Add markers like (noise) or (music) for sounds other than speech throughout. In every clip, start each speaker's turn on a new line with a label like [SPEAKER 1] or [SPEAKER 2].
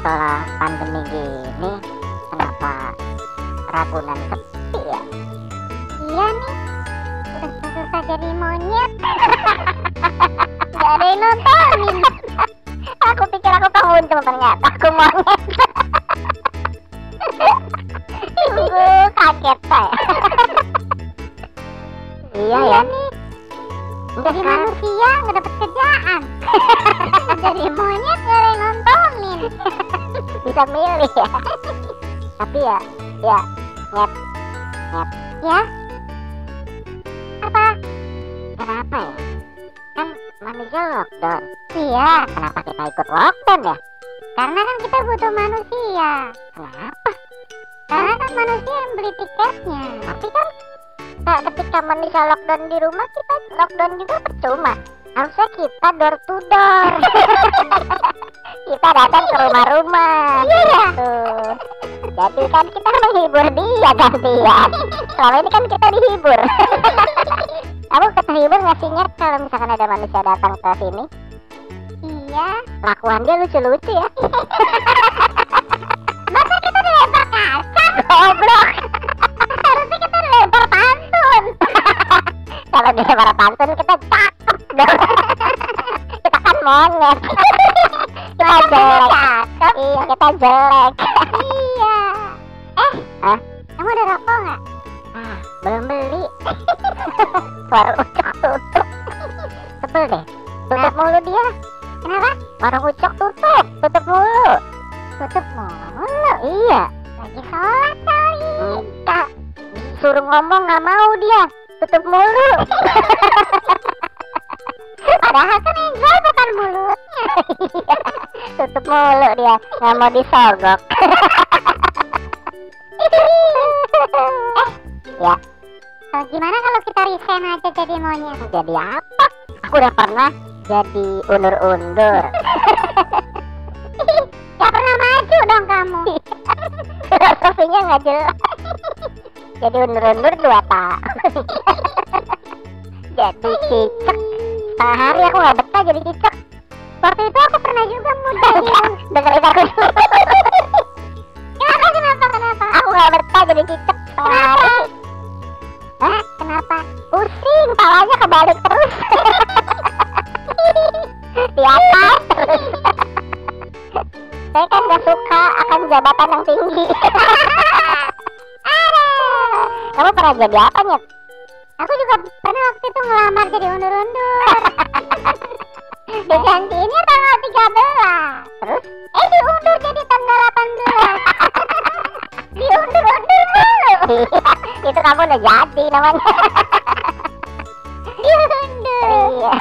[SPEAKER 1] ya?
[SPEAKER 2] Iya ada yang nontonin aku pikir aku penguntung ternyata aku monyet ibu kaget saya
[SPEAKER 1] Iya
[SPEAKER 2] iya
[SPEAKER 1] ya.
[SPEAKER 2] nih
[SPEAKER 1] Enggak
[SPEAKER 2] jadi
[SPEAKER 1] sekarang
[SPEAKER 2] manusia nggak dapet
[SPEAKER 1] (laughs)
[SPEAKER 2] kerjaan jadi monyet nggak ada yang nontonin
[SPEAKER 1] bisa milih ya. Tapi ya, ya ngep
[SPEAKER 2] ya apa
[SPEAKER 1] kenapa ya? Kan manusia lockdown.
[SPEAKER 2] iya
[SPEAKER 1] Kenapa kita ikut lockdown ya?
[SPEAKER 2] karena kan kita butuh manusia
[SPEAKER 1] Kenapa?
[SPEAKER 2] karena kan manusia yang beli tiketnya
[SPEAKER 1] Tapi kan nah, ketika manusia lockdown di rumah kita lockdown juga percuma. Harusnya kita door to door. (laughs) kita datang ke rumah-rumah. ya.
[SPEAKER 2] iya
[SPEAKER 1] Tuh. Eh, Jadi kan kita menghibur dia gantian. Selama ini kan kita dihibur. (laughs) Kamu kehibur nggak sih Nyet, kalau misalkan ada manusia datang ke sini?
[SPEAKER 2] iya
[SPEAKER 1] Lakuan dia lucu-lucu ya. (laughs)
[SPEAKER 2] masa kita dilempar kaca
[SPEAKER 1] Goblok.
[SPEAKER 2] harusnya kita dilempar pantun
[SPEAKER 1] (laughs) kalau dia para pantun kita cakep dong. (laughs) kita kan monyet. (laughs) kita jelek.
[SPEAKER 2] cakep
[SPEAKER 1] Iya kita jelek.
[SPEAKER 2] iya eh
[SPEAKER 1] Hah?
[SPEAKER 2] kamu udah rokok nggak
[SPEAKER 1] Ah, belum beli. (laughs) Baru ucok tutup. Sebel deh. Tutup mulu dia.
[SPEAKER 2] kenapa
[SPEAKER 1] Baru ucok tutup. Tutup mulu.
[SPEAKER 2] tutup mau
[SPEAKER 1] Iya.
[SPEAKER 2] lagi sholat kali
[SPEAKER 1] Minta suruh ngomong nggak mau dia tutup mulu (laughs)
[SPEAKER 2] padahal kan yang jual bukan mulutnya
[SPEAKER 1] (laughs) tutup mulu dia nggak mau disogok
[SPEAKER 2] eh
[SPEAKER 1] Ya.
[SPEAKER 2] Eh, gimana kalau kita resign aja jadi monyet
[SPEAKER 1] jadi apa aku udah pernah jadi undur-undur
[SPEAKER 2] Gak pernah maju dong kamu
[SPEAKER 1] filosofinya nggak jelas (laughs) jadi undur-undur dua tahun (laughs) jadi cicek setengah hari aku nggak betah jadi cicek
[SPEAKER 2] Waktu itu aku pernah juga muda Yun.
[SPEAKER 1] dengerin aku (laughs) dulu
[SPEAKER 2] Kenapa kenapa kenapa?
[SPEAKER 1] aku nggak betah jadi cicek setengah hari
[SPEAKER 2] Kenapa? Hah? Eh, Kenapa?
[SPEAKER 1] pusing palanya kebalik terus (laughs) di atas (laughs) terus saya kan gak suka akan jabatan yang tinggi (laughs)
[SPEAKER 2] Aduh.
[SPEAKER 1] kamu pernah jadi apa nyet
[SPEAKER 2] Eh, Aku juga pernah waktu itu ngelamar jadi undur-undur. (laughs) Dijanjiinnya tanggal 13.
[SPEAKER 1] terus
[SPEAKER 2] Eh diundur jadi tanggal (laughs) 18. Diundur-undur mulu.
[SPEAKER 1] (laughs) itu kamu udah jadi namanya (laughs)
[SPEAKER 2] Diundur.
[SPEAKER 1] iya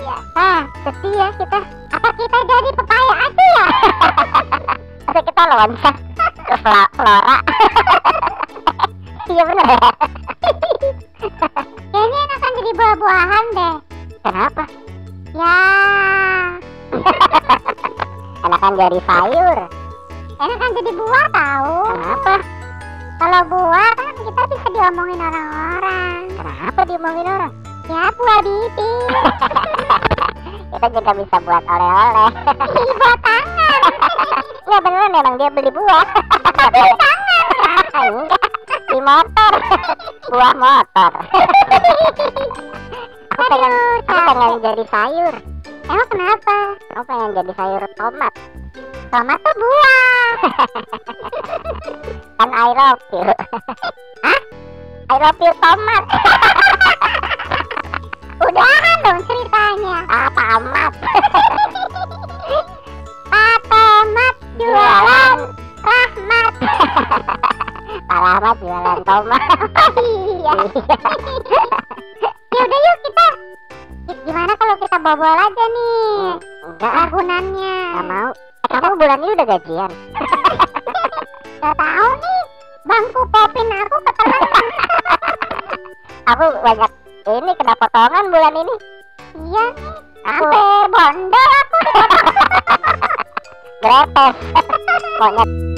[SPEAKER 2] Iya.
[SPEAKER 1] ah sedih ya kita
[SPEAKER 2] Apa kita jadi pepaya aja ya? (laughs)
[SPEAKER 1] masa kita loncat ke fla- flora (laughs) iya bener ya
[SPEAKER 2] Kayaknya enakan jadi buah-buahan deh.
[SPEAKER 1] kenapa
[SPEAKER 2] Ya,
[SPEAKER 1] enakan jadi sayur
[SPEAKER 2] enakan kan jadi buah tahu.
[SPEAKER 1] kenapa
[SPEAKER 2] Kalau buah kan kita bisa diomongin orang-orang.
[SPEAKER 1] kenapa diomongin orang (laughs)
[SPEAKER 2] Ya buah bibir,
[SPEAKER 1] kita juga bisa buat oleh-oleh
[SPEAKER 2] buah tangan.
[SPEAKER 1] ya beneran emang dia beli buah (laughs) beli tangan di motor buah motor (laughs) aku pengen
[SPEAKER 2] Aduh,
[SPEAKER 1] aku pengen jadi sayur
[SPEAKER 2] Emang kenapa?
[SPEAKER 1] aku pengen jadi sayur tomat
[SPEAKER 2] Tomat tuh buah.
[SPEAKER 1] kan I love you (laughs) I love you tomat
[SPEAKER 2] Udahan dong ceritanya.
[SPEAKER 1] apa amat
[SPEAKER 2] Pak tomat jualan rahmat.
[SPEAKER 1] Salah amat jualan tomat
[SPEAKER 2] iya. ya udah yuk kita. Gimana kalau kita bobol aja nih
[SPEAKER 1] enggak ah,
[SPEAKER 2] lagunannya?
[SPEAKER 1] enggak mau Eh, kamu bulan ini udah gajian
[SPEAKER 2] Gak tahu nih. Bangku popin aku ke teman.
[SPEAKER 1] aku banyak ini kena potongan bulan ini
[SPEAKER 2] iya nih.
[SPEAKER 1] Aku- eh, (laughs)
[SPEAKER 2] Sampai bondol aku.
[SPEAKER 1] Grepes Monyet